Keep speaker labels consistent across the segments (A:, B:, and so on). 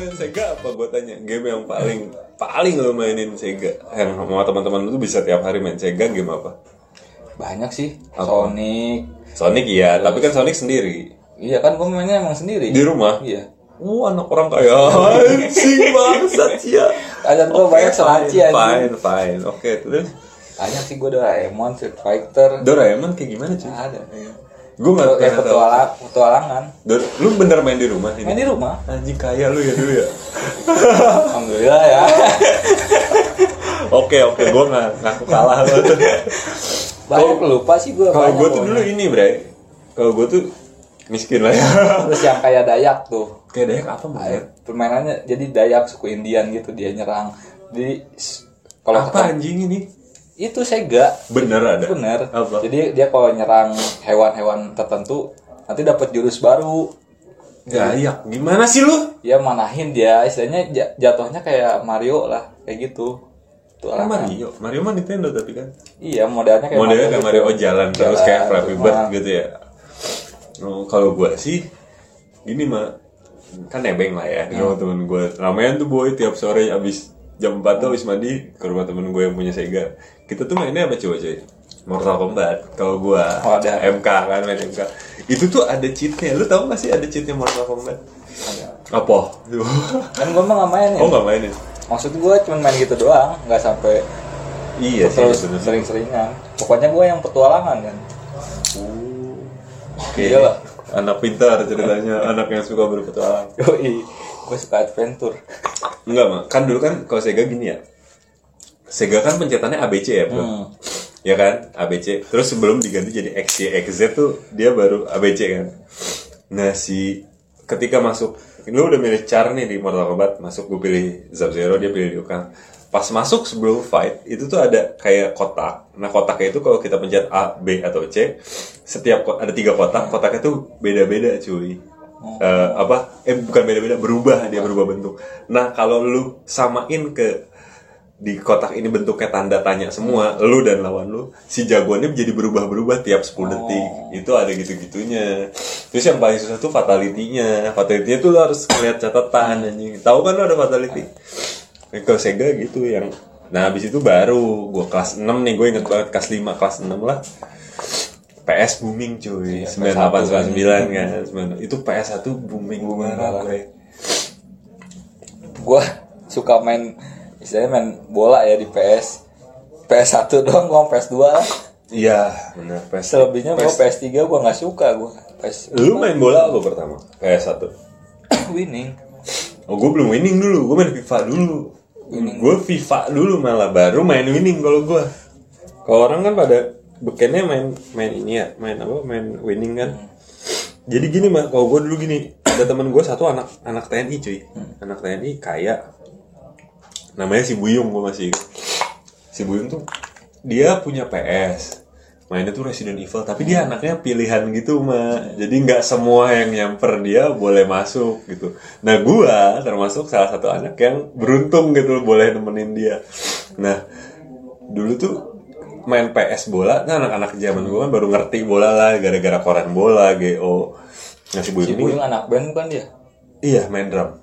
A: apa gue tanya game yang paling paling lo mainin Sega yang mau teman-teman lu bisa tiap hari main Sega game apa
B: Banyak sih.
A: Apa?
B: Sonic.
A: Sonic iya tapi kan Sonic sendiri
B: Iya kan gue mainnya emang sendiri.
A: di rumah
B: Iya.
A: Wah anak orang kaya anjing bangsat ya
B: Ada gue Oh, banyak iya. selaci
A: fine,
B: aja.
A: fine fine oke terus
B: Banyak sih gue Doraemon, Street Fighter.
A: Doraemon kayak gimana cuy
B: Ada.
A: gue nggak
B: Kayak
A: pernah tahu
B: petualang, petualangan.
A: Dor- lu bener main di rumah
B: Main
A: ini
B: di rumah.
A: anjing kaya lu ya dulu ya
B: Alhamdulillah ya.
A: oke oke gue nggak ngaku kalah lu
B: Banyak lupa sih gue.
A: kalau gue tuh dulu ini bre kalau gue tuh miskin lah ya
B: Terus yang kayak Dayak tuh.
A: kayak dayak apa mbak
B: Dayak, Permainannya jadi Dayak suku Indian gitu dia nyerang. Jadi s- kalau
A: apa anjing ini
B: itu Sega
A: bener ada
B: bener.
A: apa
B: Jadi dia kalau nyerang hewan-hewan tertentu nanti dapat jurus baru.
A: dayak gimana sih lu
B: Ya manahin dia istilahnya ja- jatuhnya kayak Mario lah kayak gitu.
A: Kan
B: Petualangan.
A: Mario Mario mah Nintendo tapi kan
B: Iya modelnya kayak
A: modelnya kayak
B: gitu.
A: Mario oh, jalan terus
B: Jalan,
A: kayak Flappy
B: terus
A: Bird
B: malah.
A: gitu ya Oh, kalau gua sih gini mah kan nebeng lah ya di
B: Hmm.
A: rumah temen gue ramean tuh boy tiap sore abis jam 4 tuh abis mandi ke rumah temen gue yang punya Sega kita tuh mainnya apa coba cuy Mortal Kombat kalau gua
B: Oh, ada.
A: MK kan main MK itu tuh ada cheatnya lu tau gak sih ada cheatnya Mortal Kombat
B: Ada.
A: apa
B: Kan gue mah nggak main ya.
A: oh nggak mainin
B: Maksud gue cuma main gitu doang, nggak sampai
A: iya sih
B: terus
A: sebenarnya.
B: sering-seringan. Pokoknya gue yang petualangan kan.
A: Oke.
B: Iya lah.
A: Anak pintar ceritanya, anak yang suka berpetualang.
B: Yoi, gue suka adventure.
A: Enggak, Mak. Kan dulu kan kalau Sega gini ya. Sega kan pencetannya ABC ya, Bro.
B: Hmm.
A: Ya kan? ABC. Terus sebelum diganti jadi XY, XZ tuh dia baru ABC kan. Nah, si ketika masuk lu udah milih char nih di Mortal Kombat masuk gue pilih Sub Zero dia pilih Liu Kang pas masuk sebelum fight itu tuh ada kayak kotak nah kotaknya itu kalau kita pencet A B atau C setiap ko- ada tiga kotak kotaknya tuh beda-beda cuy Eh, apa eh bukan beda-beda berubah dia berubah bentuk nah kalau lu samain ke di kotak ini bentuknya tanda tanya semua lu dan lawan lu si jagoannya jadi berubah-berubah tiap 10 detik itu ada gitu-gitunya terus yang paling susah tuh fatality-nya fatality-nya tuh lu harus ngeliat catatan anjing tahu kan lu ada fatality Nah, kalau Sega gitu yang nah habis itu baru gua kelas 6 nih gue inget banget kelas 5 kelas 6 lah PS booming cuy, 98 99 kan. 90. Itu PS1 booming booming
B: parah.
A: gue.
B: Gue suka main, istilahnya main bola ya di PS. PS1 doang, gue PS2 lah.
A: Iya, benar PS.
B: Selebihnya gue
A: PS.
B: PS3 gue nggak suka gue. PS
A: Lu main bola apa pertama? PS1.
B: winning.
A: Oh, gue belum winning dulu. Gue main FIFA dulu. Gue FIFA dulu malah baru main winning kalau gue. Kalau orang kan pada bekennya main main ini ya, main apa? Main winning kan. Jadi gini mah, kalau gue dulu gini, ada teman gue satu anak anak TNI cuy, anak TNI kaya. Namanya si Buyung gue masih. ingat. Si Buyung tuh dia punya PS. Mainnya tuh Resident Evil, tapi dia anaknya pilihan gitu mah. Jadi nggak semua yang nyamper dia boleh masuk gitu. Nah gua termasuk salah satu anak yang beruntung gitu boleh nemenin dia. Nah dulu tuh main PS bola, nah anak-anak zaman gua kan baru ngerti bola lah gara-gara koran bola, GO. Nah si Buyung
B: Si
A: ini-
B: Buyung anak band bukan dia?
A: iya main drum.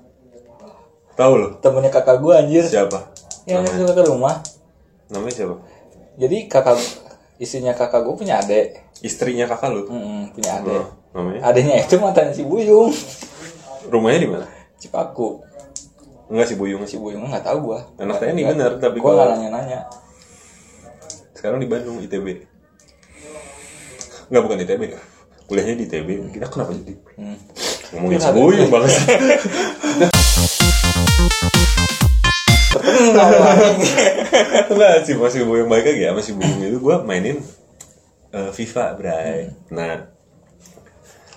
A: Tahu loh
B: Temennya kakak gue anjir.
A: siapa?
B: Yang suka ke rumah.
A: Namanya siapa?
B: Jadi kakak istrinya kakak gue punya adik.
A: Istrinya kakak lu.
B: Mm-mm, punya adik.
A: Oh, Hmm. namanya?
B: Adiknya itu mantan si Buyung.
A: Rumahnya di mana?
B: Cipaku.
A: Enggak si Buyung
B: Si
A: sih.
B: Buyung nggak tahu gua.
A: Anak TNI bener, tapi kalau-
B: gua nggak nanya-nanya.
A: Sekarang di Bandung ITB. Enggak bukan ITB. Kuliahnya di ITB. Kita kenapa jadi
B: Hmm.
A: ngomongin si Buyung banget. Enggak sih masih Buyung baik lagi ya masih Buyung itu gue mainin eh, FIFA bray. Nah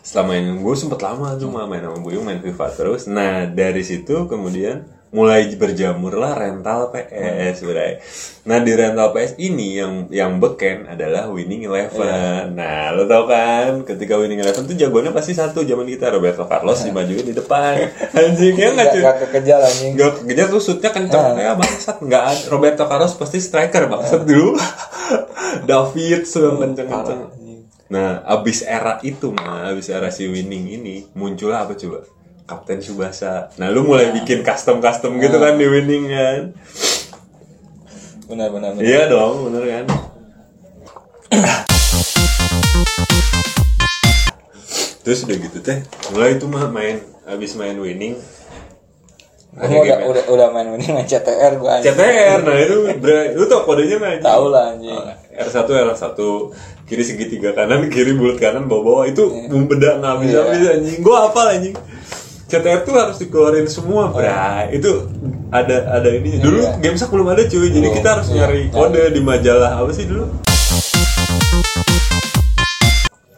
A: setelah main gue sempet lama tuh mah main sama Buyung main FIFA terus nah dari situ kemudian mulai berjamurlah rental PS bray nah di rental PS ini yang yang beken adalah Winning Eleven nah lo tau kan ketika Winning Eleven tuh jagoannya pasti satu zaman kita Roberto Carlos dimajuin di depan anjingnya nggak
B: Nggak
A: cuy
B: nggak kekejar anjing.
A: Gak kerja tuh shootnya
B: Ah.
A: kenceng ya bangsat nggak ada. Roberto Carlos pasti striker bangsat dulu David
B: Hmm,
A: sedang kenceng kenceng nah abis era itu mah abis era si winning ini muncullah apa coba Kapten Subasa. Nah lu
B: Iya.
A: mulai bikin custom-custom gitu
B: Ah.
A: kan di winning kan?
B: benar benar benar.
A: Iya dong, bener kan? Terus udah gitu teh, mulai itu mah main habis main winning.
B: Gua
A: iya,
B: mah udah, udah udah main winning main CTR gua anjing.
A: CTR, nah itu bre- lu tau kodenya nggak? anjing?
B: Tahu lah anjing.
A: Oh. R1 R1 kiri segitiga kanan kiri bulat kanan bawah bawah itu membeda nggak bisa habis anjing gua apa anjing CTR tuh harus dikeluarin semua bra itu ada ada ini dulu
B: Iya.
A: game sak belum ada cuy jadi
B: Belum.
A: kita harus
B: Iya.
A: nyari kode di majalah apa sih dulu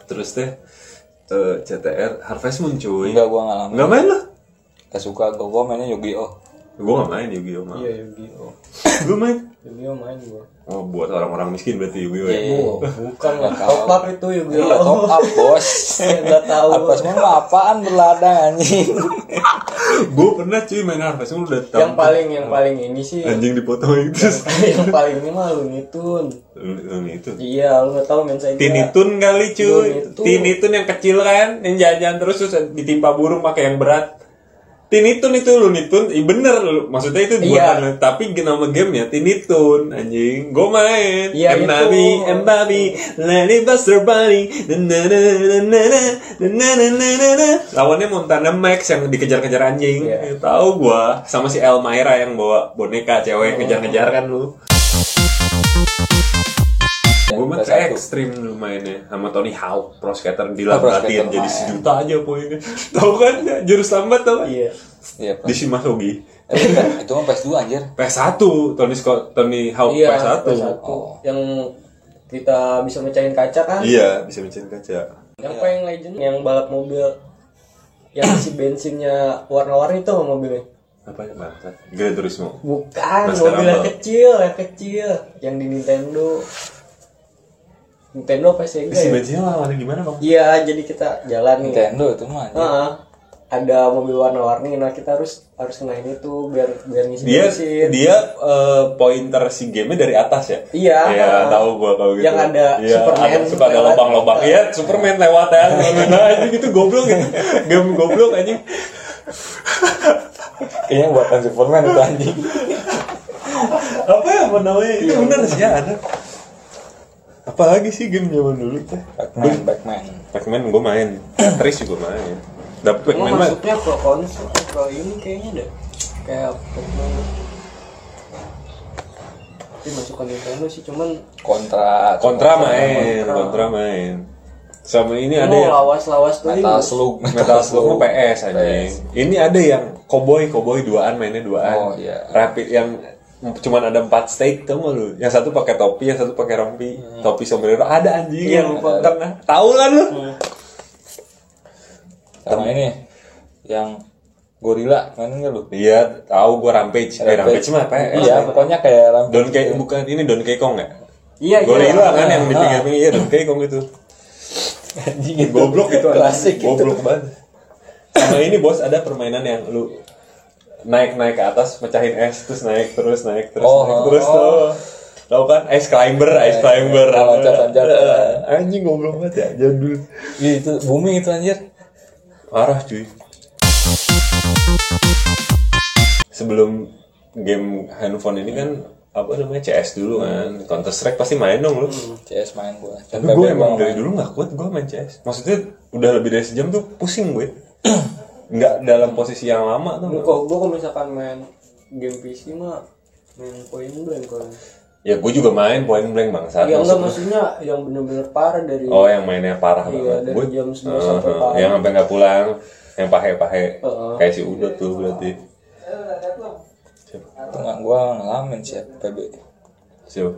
A: terus teh eh, CTR Harvest Moon cuy
B: Enggak gua ngalamin.
A: nggak main lah
B: Gak suka gua gua mainnya Yu-Gi-Oh.
A: gua nggak main Yu-Gi-Oh mah
C: Iya Yu-Gi-Oh.
A: gua main
C: Yu-Gi-Oh main gua.
A: oh buat orang-orang miskin berarti Yu-Gi-Oh ya
B: Iya.
C: Oh, bukan lah.
B: Nggak tahu.
C: Top up itu
B: Iya, top
C: Yu-Gi-Oh.
B: up bos.
C: Nggak tahu.
B: Apa semua mah apaan berladang anjing.
A: gua pernah cuy main Harvest Moon udah tahun
C: Yang paling yang paling ini sih.
A: anjing dipotoin terus
C: yang paling ini mah Lunitun.
A: Nah, itu
C: Iya, lu nggak tahu men saya.
A: tinitun kali cuy
C: Tinitun.
A: tinitun yang kecil kan yang jajan terus terus ditimpa burung pakai yang berat tinitun itu lunitun Ih, bener lu. maksudnya
C: Iya.
A: itu buatan lu. tapi nama gamenya tinitun anjing gue main
C: Iya,
A: and
C: itu.
A: mommy and mommy let it bust her body Na, na, na, na, na, na, na, na, na, na, na. lawannya Montana Max yang dikejar-kejar anjing
C: Iya.
A: tahu gua sama si Elmira yang bawa boneka
C: Oh.
A: cewek kejar-kejar kan lu Gue mah
B: Kelas satu.
A: ke ekstrim dulu mainnya sama Tony Hawk pro skater di
B: Oh, pro
A: latihan
B: skater
C: iya.
A: jadi
B: main.
A: sejuta aja poinnya tau kan ya, jurus lambat tau kan
C: Iya.
B: Iya. Pak.
A: di Shimasugi
B: Eh, bukan. Itu mah PS2 anjir.
A: PS1 Tony Scott Tony Hawk
C: Iya,
A: PS1
C: PS1. Yang kita bisa mecahin kaca kan?
A: iya bisa mecahin kaca
C: Yang apa yang legend? Yang balap mobil yang si bensinnya warna-warni itu mobilnya.
A: apa ya bang Gran Turismo
C: Bukan,
A: Mas
C: mobil yang
A: Karambel.
C: kecil, yang kecil, yang di Nintendo. Nintendo apa Sega
A: si
C: ya?
A: bensinnya lawannya gimana bang
C: Iya, jadi kita jalan nih.
B: Nintendo itu mah anjir.
A: Ah.
C: Heeh. ada mobil warna-warni, nah kita harus harus kenain itu biar biar ngisi
A: dia
C: bensin.
A: dia eh, pointer si game dari atas ya
C: Iya.
A: Iya, tahu gua kalau gitu
C: Yang ada
A: Iya,
C: Superman
A: ada- suka ada
C: lewat.
A: lubang-lubang iya Superman lewat ya nah itu gitu goblok gitu game goblok anjing
B: Kayaknya buatan Superman itu anjing.
A: apa ya apa namanya itu benar sih ya ada apalagi sih game zaman dulu teh
B: Batman, Batman.
A: Pac-Man gue main Tris juga main dapet Pac-Man
C: Emang
A: mah
C: masuknya ke konsol atau ini kayaknya deh. Kayak Pokemon. Tapi masuk ke Nintendo sih cuman
B: Kontra.
A: kontra main kontra main sama ini ada
C: mau
A: yang
C: lawas-lawas tuh
B: Metal
C: ini.
B: Slug.
A: Metal Slug mah PS aja.
B: PS.
A: Ini ada yang Cowboy Cowboy duaan mainnya duaan.
B: Oh, iya.
A: Rapid yang cuman ada empat stake tau gak lu yang satu pakai topi yang satu pakai rompi
B: Hmm.
A: topi sombrero ada anjing
C: Iya,
A: yang
C: ada.
A: tengah tahu lah lu
B: Hmm. Sama ini yang gorila main enggak lu?
A: iya tahu gua rampage eh rampage mah PS
B: Iya, pokoknya kayak Rampage.
A: Donkey bukan ini Donkey Kong ya
C: Iya, iya.
A: gorila kan yang di
B: Nah.
A: pinggir pinggir iya Donkey Kong itu
B: Anjing itu.
A: goblok itu anjing.
B: klasik itu.
A: goblok banget sama ini bos ada permainan yang lu naik naik ke atas mecahin es terus naik terus naik terus
B: Oh,
A: naik terus
B: oh.
A: tuh tau kan ice climber ice climber
B: iya. Loncat-loncat.
A: Eh, anjing goblok banget ya jadul
B: Iya, itu booming itu anjir.
A: parah cuy sebelum game handphone ini kan apa namanya CS dulu kan Counter Strike pasti main dong lu
B: CS main gua.
A: tapi gue
B: PPB
A: emang
B: gua
A: dari
B: main.
A: dulu nggak kuat gue main CS maksudnya udah lebih dari sejam tuh pusing gue nggak dalam posisi yang lama tuh
C: Gua kok gua kalau misalkan main game PC mah main point blank kalau.
A: ya gue juga main point blank bangsat
C: Ya
A: maksud
C: enggak
A: gue.
C: maksudnya yang bener-bener parah dari
A: Iya, oh yang mainnya parah
C: Iya,
A: banget
C: dari
A: gue
C: jam 11 sampai
A: Heeh,
C: pagi.
A: yang sampai nggak pulang yang pahe pahe
C: Heeh.
A: kayak si udut tuh berarti
B: Tengah gua ngalamin sih PB.
A: siapa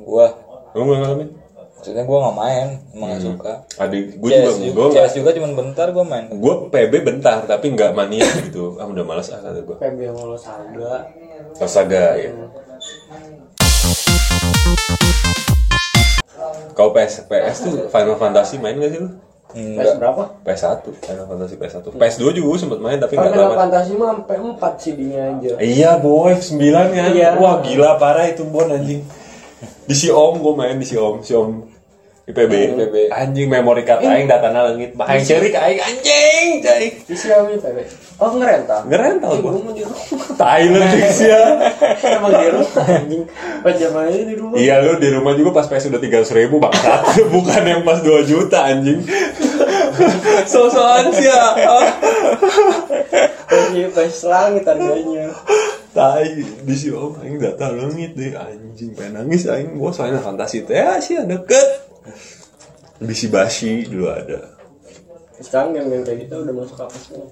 B: Gua
A: lu nggak ngalamin
B: maksudnya gua nggak main, emang nggak suka.
A: adik gue Hmm. juga
B: CS
A: gue
B: juga, CS juga cuman bentar gua main.
A: gue PB bentar tapi nggak mania gitu ah udah males ah kata gue
C: PB yang lolos ada.
A: Saga ya. Kau PS PS tuh Final Fantasy main gak sih lu?
C: PS
B: Enggak.
C: berapa?
A: PS1, Final Fantasy PS1. PS2 juga sempet main tapi
C: Kalau
A: gak
C: Final
A: lama.
C: Fantasy mah sampai 4 CD-nya aja.
A: Iya boy, 9 kan.
C: Iya.
A: Wah gila parah itu Bon anjing. Di si Om gue main di si Om, si Om IPB.
B: IPB.
A: Anjing memori kata aing datana leungit. Bah
C: Iya.
A: aing ceurik aing anjing, cai.
C: Di Xiaomi PB. Oh ngerental.
A: Ngerental
C: Ih,
A: gua.
C: gua mau di rumah.
A: Thailand fix ya.
C: Emang di rumah anjing. Pas zaman ini di rumah.
A: Iya lu di rumah juga pas PS udah 300 ribu bangsat Bukan yang pas 2 juta anjing So-soan sih ya
C: Anjing Iya, pas langit harganya.
A: Tai di si om aing data leungit deh anjing pengen nangis aing gua soalnya fantasi teh ya, sih ada deket Bisi basi dulu ada
C: Sekarang game-game kayak gitu udah masuk apa semua?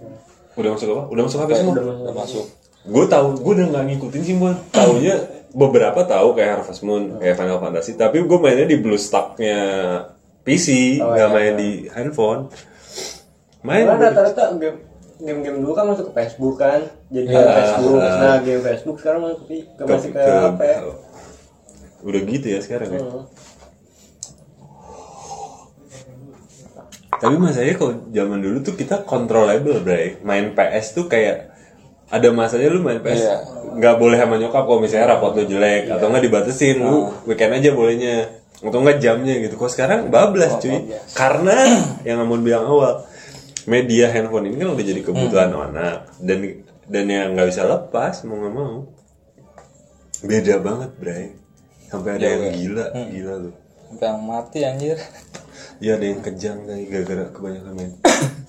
A: Udah masuk apa? Udah masuk apa
B: Udah,
A: semua?
B: udah masuk.
A: gue tahu gue udah nggak ngikutin sih gue taunya beberapa tahu kayak Harvest Moon kayak Final Fantasy tapi gue mainnya di BlueStack-nya PC
C: Oh,
A: nggak
C: iya.
A: main di handphone main
C: Karena
A: gue-
C: rata-rata game- game-game dulu kan masuk ke Facebook kan, jadi
B: Iya.
C: ada Facebook. Nah, game Facebook sekarang masuk ke, ke masih ke,
A: ke-
C: apa ya?
A: udah gitu ya sekarang ya
C: Hmm.
A: tapi masanya kalau zaman dulu tuh kita controllable bray main PS tuh kayak ada masanya lu main PS
B: Iya.
A: nggak boleh sama nyokap kalau misalnya rapot lu jelek atau nggak dibatasin lu weekend aja bolehnya atau nggak jamnya gitu kalau sekarang bablas cuy karena yang Amon bilang awal media handphone ini kan udah jadi kebutuhan anak dan dan yang nggak bisa lepas mau nggak mau beda banget bray sampai ada
B: Jauh
A: yang
B: ya.
A: gila gila lu
B: Sampai yang mati anjir.
A: Iya ada yang kejang kali gara-gara kebanyakan main.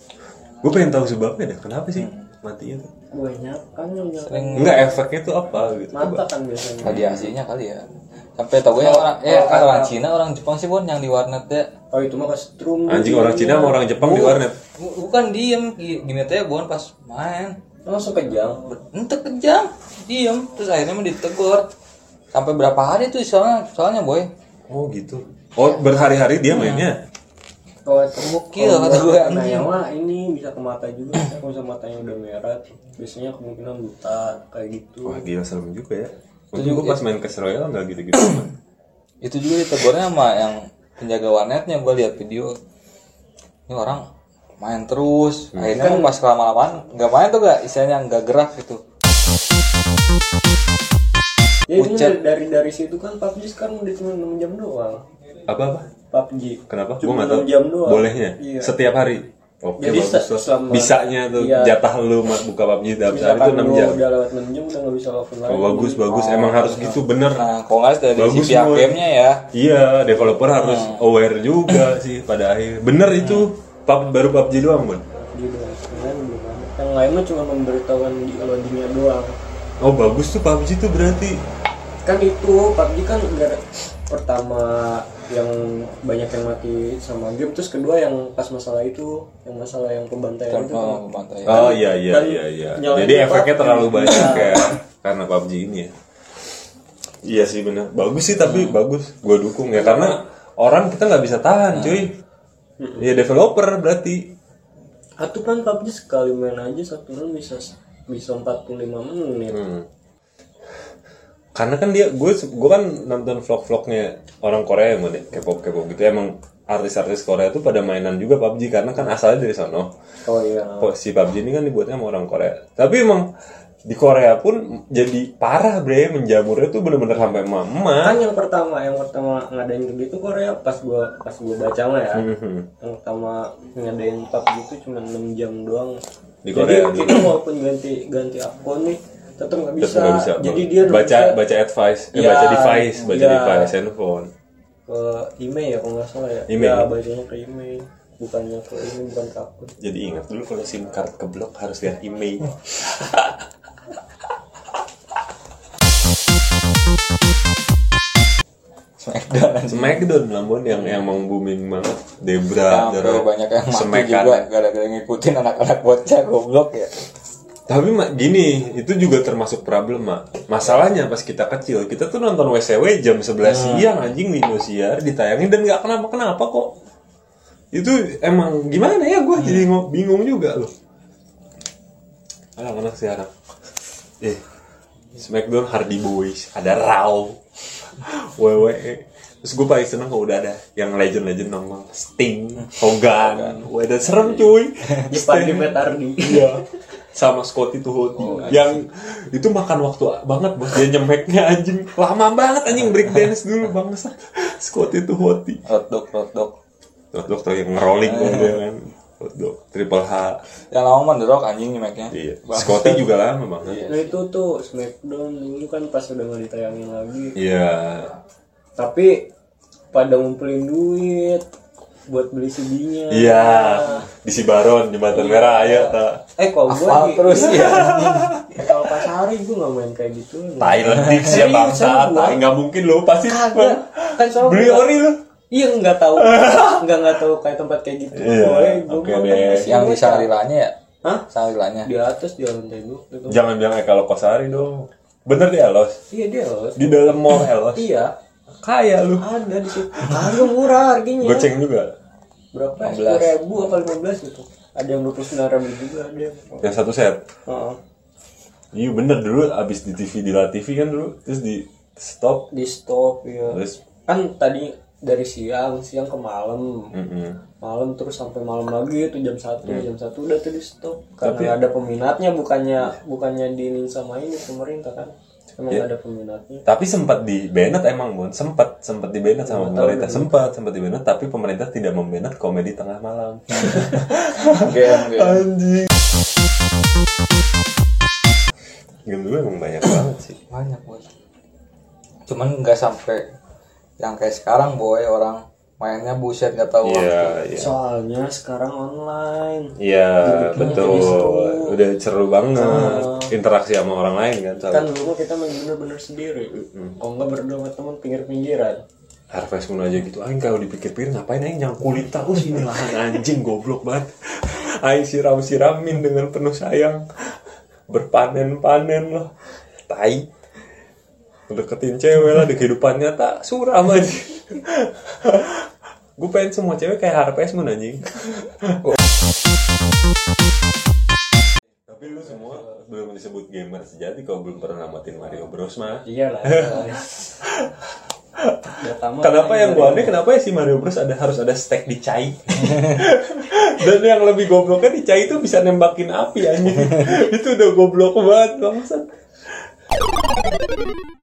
A: gue pengen tahu sebabnya dah kenapa sih matinya tuh?
C: Banyak kan yang
B: Sering
A: Enggak efeknya tuh apa gitu?
C: mata kan biasanya.
B: radiasinya kali ya. Sampai tau gue yang orang eh
C: kalau kata-
B: orang Cina, orang Jepang sih pun yang di warnet ya.
C: Oh itu mah ke strum.
A: Anjing orang Cina sama orang Jepang di warnet.
B: Bu- Bukan diem, gi- gini teh bukan pas main.
C: langsung kejang.
B: Ente kejam, diem, terus akhirnya mah ditegur. Sampai berapa hari tuh soalnya soalnya boy.
A: Oh gitu. Oh berhari-hari
C: Iya.
A: dia mainnya.
C: Kalau
B: Gokil, kata gue.
C: Nah yang mah ini bisa ke mata juga. Saya kalau bisa matanya udah merah, biasanya kemungkinan buta kayak gitu.
A: Wah gila serem juga ya. Untung gue pas main ke Royale nggak gitu-gitu. amat.
B: Itu juga ditegurnya sama yang penjaga warnetnya gue lihat video. Ini orang main terus.
C: Hmm.
B: Akhirnya
C: Kan-
B: mah pas lama-lamaan nggak main tuh gak istilahnya nggak gerak gitu.
C: Jadi Ya, ini
B: Pucat.
C: dari, dari dari situ kan PUBG sekarang udah cuma 6 jam doang.
A: Apa apa?
C: PUBG.
A: Kenapa? Gue
C: Cuma
A: nggak tahu.
C: enam jam doang.
A: Bolehnya.
C: Iya.
A: Setiap hari. Oke,
C: Jadi
A: bagus
C: se-
A: lah.
C: selama-
A: Bisanya tuh
C: Iya.
A: jatah lu ma- buka PUBG dalam sehari
C: Misalkan
A: itu 6
C: lu
A: jam.
C: udah Ah, lewat 6 jam udah nggak bisa login lagi.
A: Oh, bagus bagus emang harus gitu bener.
C: ah.
B: Nah, kalau nggak dari
A: Bagus
B: sisi pihak
A: semua.
B: gamenya ya.
A: Iya, developer harus
C: Oh.
A: aware juga sih pada akhir. Bener
C: Hmm.
A: itu, pub, baru PUBG doang, Bun.
C: Jadi doang. Sebenarnya belum ada. Gitu, Yang lain mah cuma memberitahuan di loadingnya doang.
A: Oh, bagus tuh PUBG tuh berarti.
C: Kan itu PUBG kan gara pertama yang banyak yang mati sama game terus kedua yang pas masalah itu yang masalah yang pembantaian itu
B: Oh, bantai.
A: Oh iya iya
C: Eh, Dan
A: iya iya.
C: nyalain
A: Jadi
C: di
A: efeknya
C: PUBG. Iya.
A: terlalu banyak kayak karena PUBG ini ya. Iya sih bener. Bagus sih tapi
C: Hmm.
A: bagus. Gue dukung ya karena orang kita nggak bisa tahan,
C: Hmm.
A: cuy. Ya developer berarti.
C: Satu kan PUBG sekali main aja satu orang bisa bisa 45 menit.
A: Hmm. Karena kan dia gue gue kan nonton vlog-vlognya orang Korea yang mana K-pop K-pop gitu emang artis-artis Korea tuh pada mainan juga PUBG karena kan asalnya dari sono.
C: Oh iya.
A: Po- si PUBG ini kan dibuatnya sama orang Korea. Tapi emang di Korea pun jadi parah bre menjamurnya tuh bener-bener sampai emak-emak.
C: Kan yang pertama yang pertama ngadain kayak gitu Korea pas gua pas gua baca mah ya.
A: Hmm.
C: Yang pertama ngadain PUBG itu cuma 6 jam doang.
A: Di Korea
C: Jadi kita walaupun ganti ganti akun nih tetap nggak
A: Terus
C: bisa.
A: nggak bisa.
C: Jadi dia harus
A: baca
C: bisa
A: baca advice, eh,
C: Iya,
A: baca device, baca
C: iya.
A: device handphone.
C: ke email ya kalau nggak salah ya.
A: Email.
C: Ya bacanya ke email bukannya ke ini bukan ke akun.
A: Jadi ingat dulu kalau SIM card keblok harus lihat email.
B: Smackdown.
A: Smackdown Lambon yang yang mau booming banget. Debra,
B: Sampai banyak yang mati
A: Smackdown.
B: juga gara-gara ngikutin anak-anak bocah goblok ya.
A: Tapi mak gini, itu juga termasuk problem mak. Masalahnya pas kita kecil, kita tuh nonton WCW jam 11 siang anjing di Indosiar ditayangin dan nggak kenapa kenapa kok. Itu emang gimana ya gue jadi ngo- bingung juga loh. Anak-anak sekarang, eh Smackdown Hardy Boys, ada Raw, WWE. Terus gue paling seneng kalau udah ada yang legend-legend nongol Sting, Hogan, Wah, udah serem cuy.
C: Jepang di Metardi.
A: Iya. sama Scotty Tuhoti yang itu makan waktu banget bos dia nyemeknya anjing lama banget anjing break dance dulu bangsa Scotty Tuhoti
B: Rodok, rodok.
A: Hot dog tuh yang ngerolling gitu kan. Hot dog triple H.
B: Yang lama mendorok anjing nyemek-nya.
A: Iya. Scotty juga lama banget.
C: Nah itu tuh Smackdown dulu kan pas udah nggak ditayangin lagi.
A: Iya.
C: Tapi pada ngumpulin duit buat beli CD-nya.
A: Iya. Di Sibaron jembatan merah ayo ta.
C: Eh kalau gue
B: Hafal terus ya.
C: Kalau Kasari gue nggak main kayak gitu.
A: Thailand Dix ya
C: Serius,
A: bangsa.
C: sama gua.
A: Tai nggak mungkin lo pasti.
C: Kagak. Kan soalnya
A: Beli
C: gua-
A: ori lu.
C: Iya nggak tahu, nggak nggak tahu kayak tempat kayak gitu.
A: Iya,
C: Boleh, gua
A: oke
C: mau
A: deh.
C: main sini,
B: Yang di
C: Kak.
B: Sangrilanya ya?
C: Hah?
B: Sangrilanya.
C: Di atas di lantai dua. gitu.
A: Jangan bilang eh kalau Kosari dong. Bener dia Elos.
C: Iya dia loh.
A: Di dalam mall Elos.
C: Iya.
A: Kaya lu.
C: Ada di situ. Harga murah harganya.
A: Goceng juga.
C: Berapa?
B: 15.
C: Sepuluh ribu apa lima belas gitu. Ada yang dua puluh sembilan ribu juga ada. Yang...
A: Yang satu set.
C: Heeh.
A: Iya bener dulu abis di TV di La TV kan dulu terus di stop
C: Di stop ya.
A: terus
C: Kan tadi dari siang siang ke malam.
A: mm-mm. Mm.
C: malam terus sampai malam lagi itu jam satu jam satu udah tuh di stop karena
A: Tapi-
C: nggak ada peminatnya bukannya bukannya diinin sama ini pemerintah kan emang
A: Iya.
C: nggak ada peminatnya
A: Tapi sempat di banned emang Bon, sempat sempat di banned sama pemerintah, sempat sempat di banned tapi pemerintah tidak membanned komedi tengah malam.
B: GM GM.
A: Anjing. Game dulu emang banyak banget sih.
B: Banyak bos. Cuman nggak sampai yang kayak sekarang boy orang mainnya buset nggak tahu waktu.
A: Iya, iya.
C: soalnya sekarang online
A: Iya, betul. Udah seru banget. Interaksi sama orang lain kan. sama
C: kan dulu mah kita main bener-bener sendiri kalau nggak berdua sama teman pinggir-pinggiran
A: Harvest Moon aja gitu. Aing kalau dipikir-pikir ngapain aing nyangkulin tahu sih ini lahan anjing goblok banget. Aing siram-siramin dengan penuh sayang. Berpanen-panen loh. Tai. Deketin cewek lah di kehidupan nyata suram aja. Gue pengen semua cewek kayak Harvest Moon anjing. Tapi lu semua belum disebut gamer sejati kalau belum pernah namatin Mario Bros mah.
C: iyalah Data mah
A: Kenapa
C: main
A: yang
C: dari-
A: gua aneh kenapa ya si Mario Bros ada harus ada stack di cai? Dan yang lebih gobloknya di cai itu bisa nembakin api anjing. itu udah goblok banget bangsat.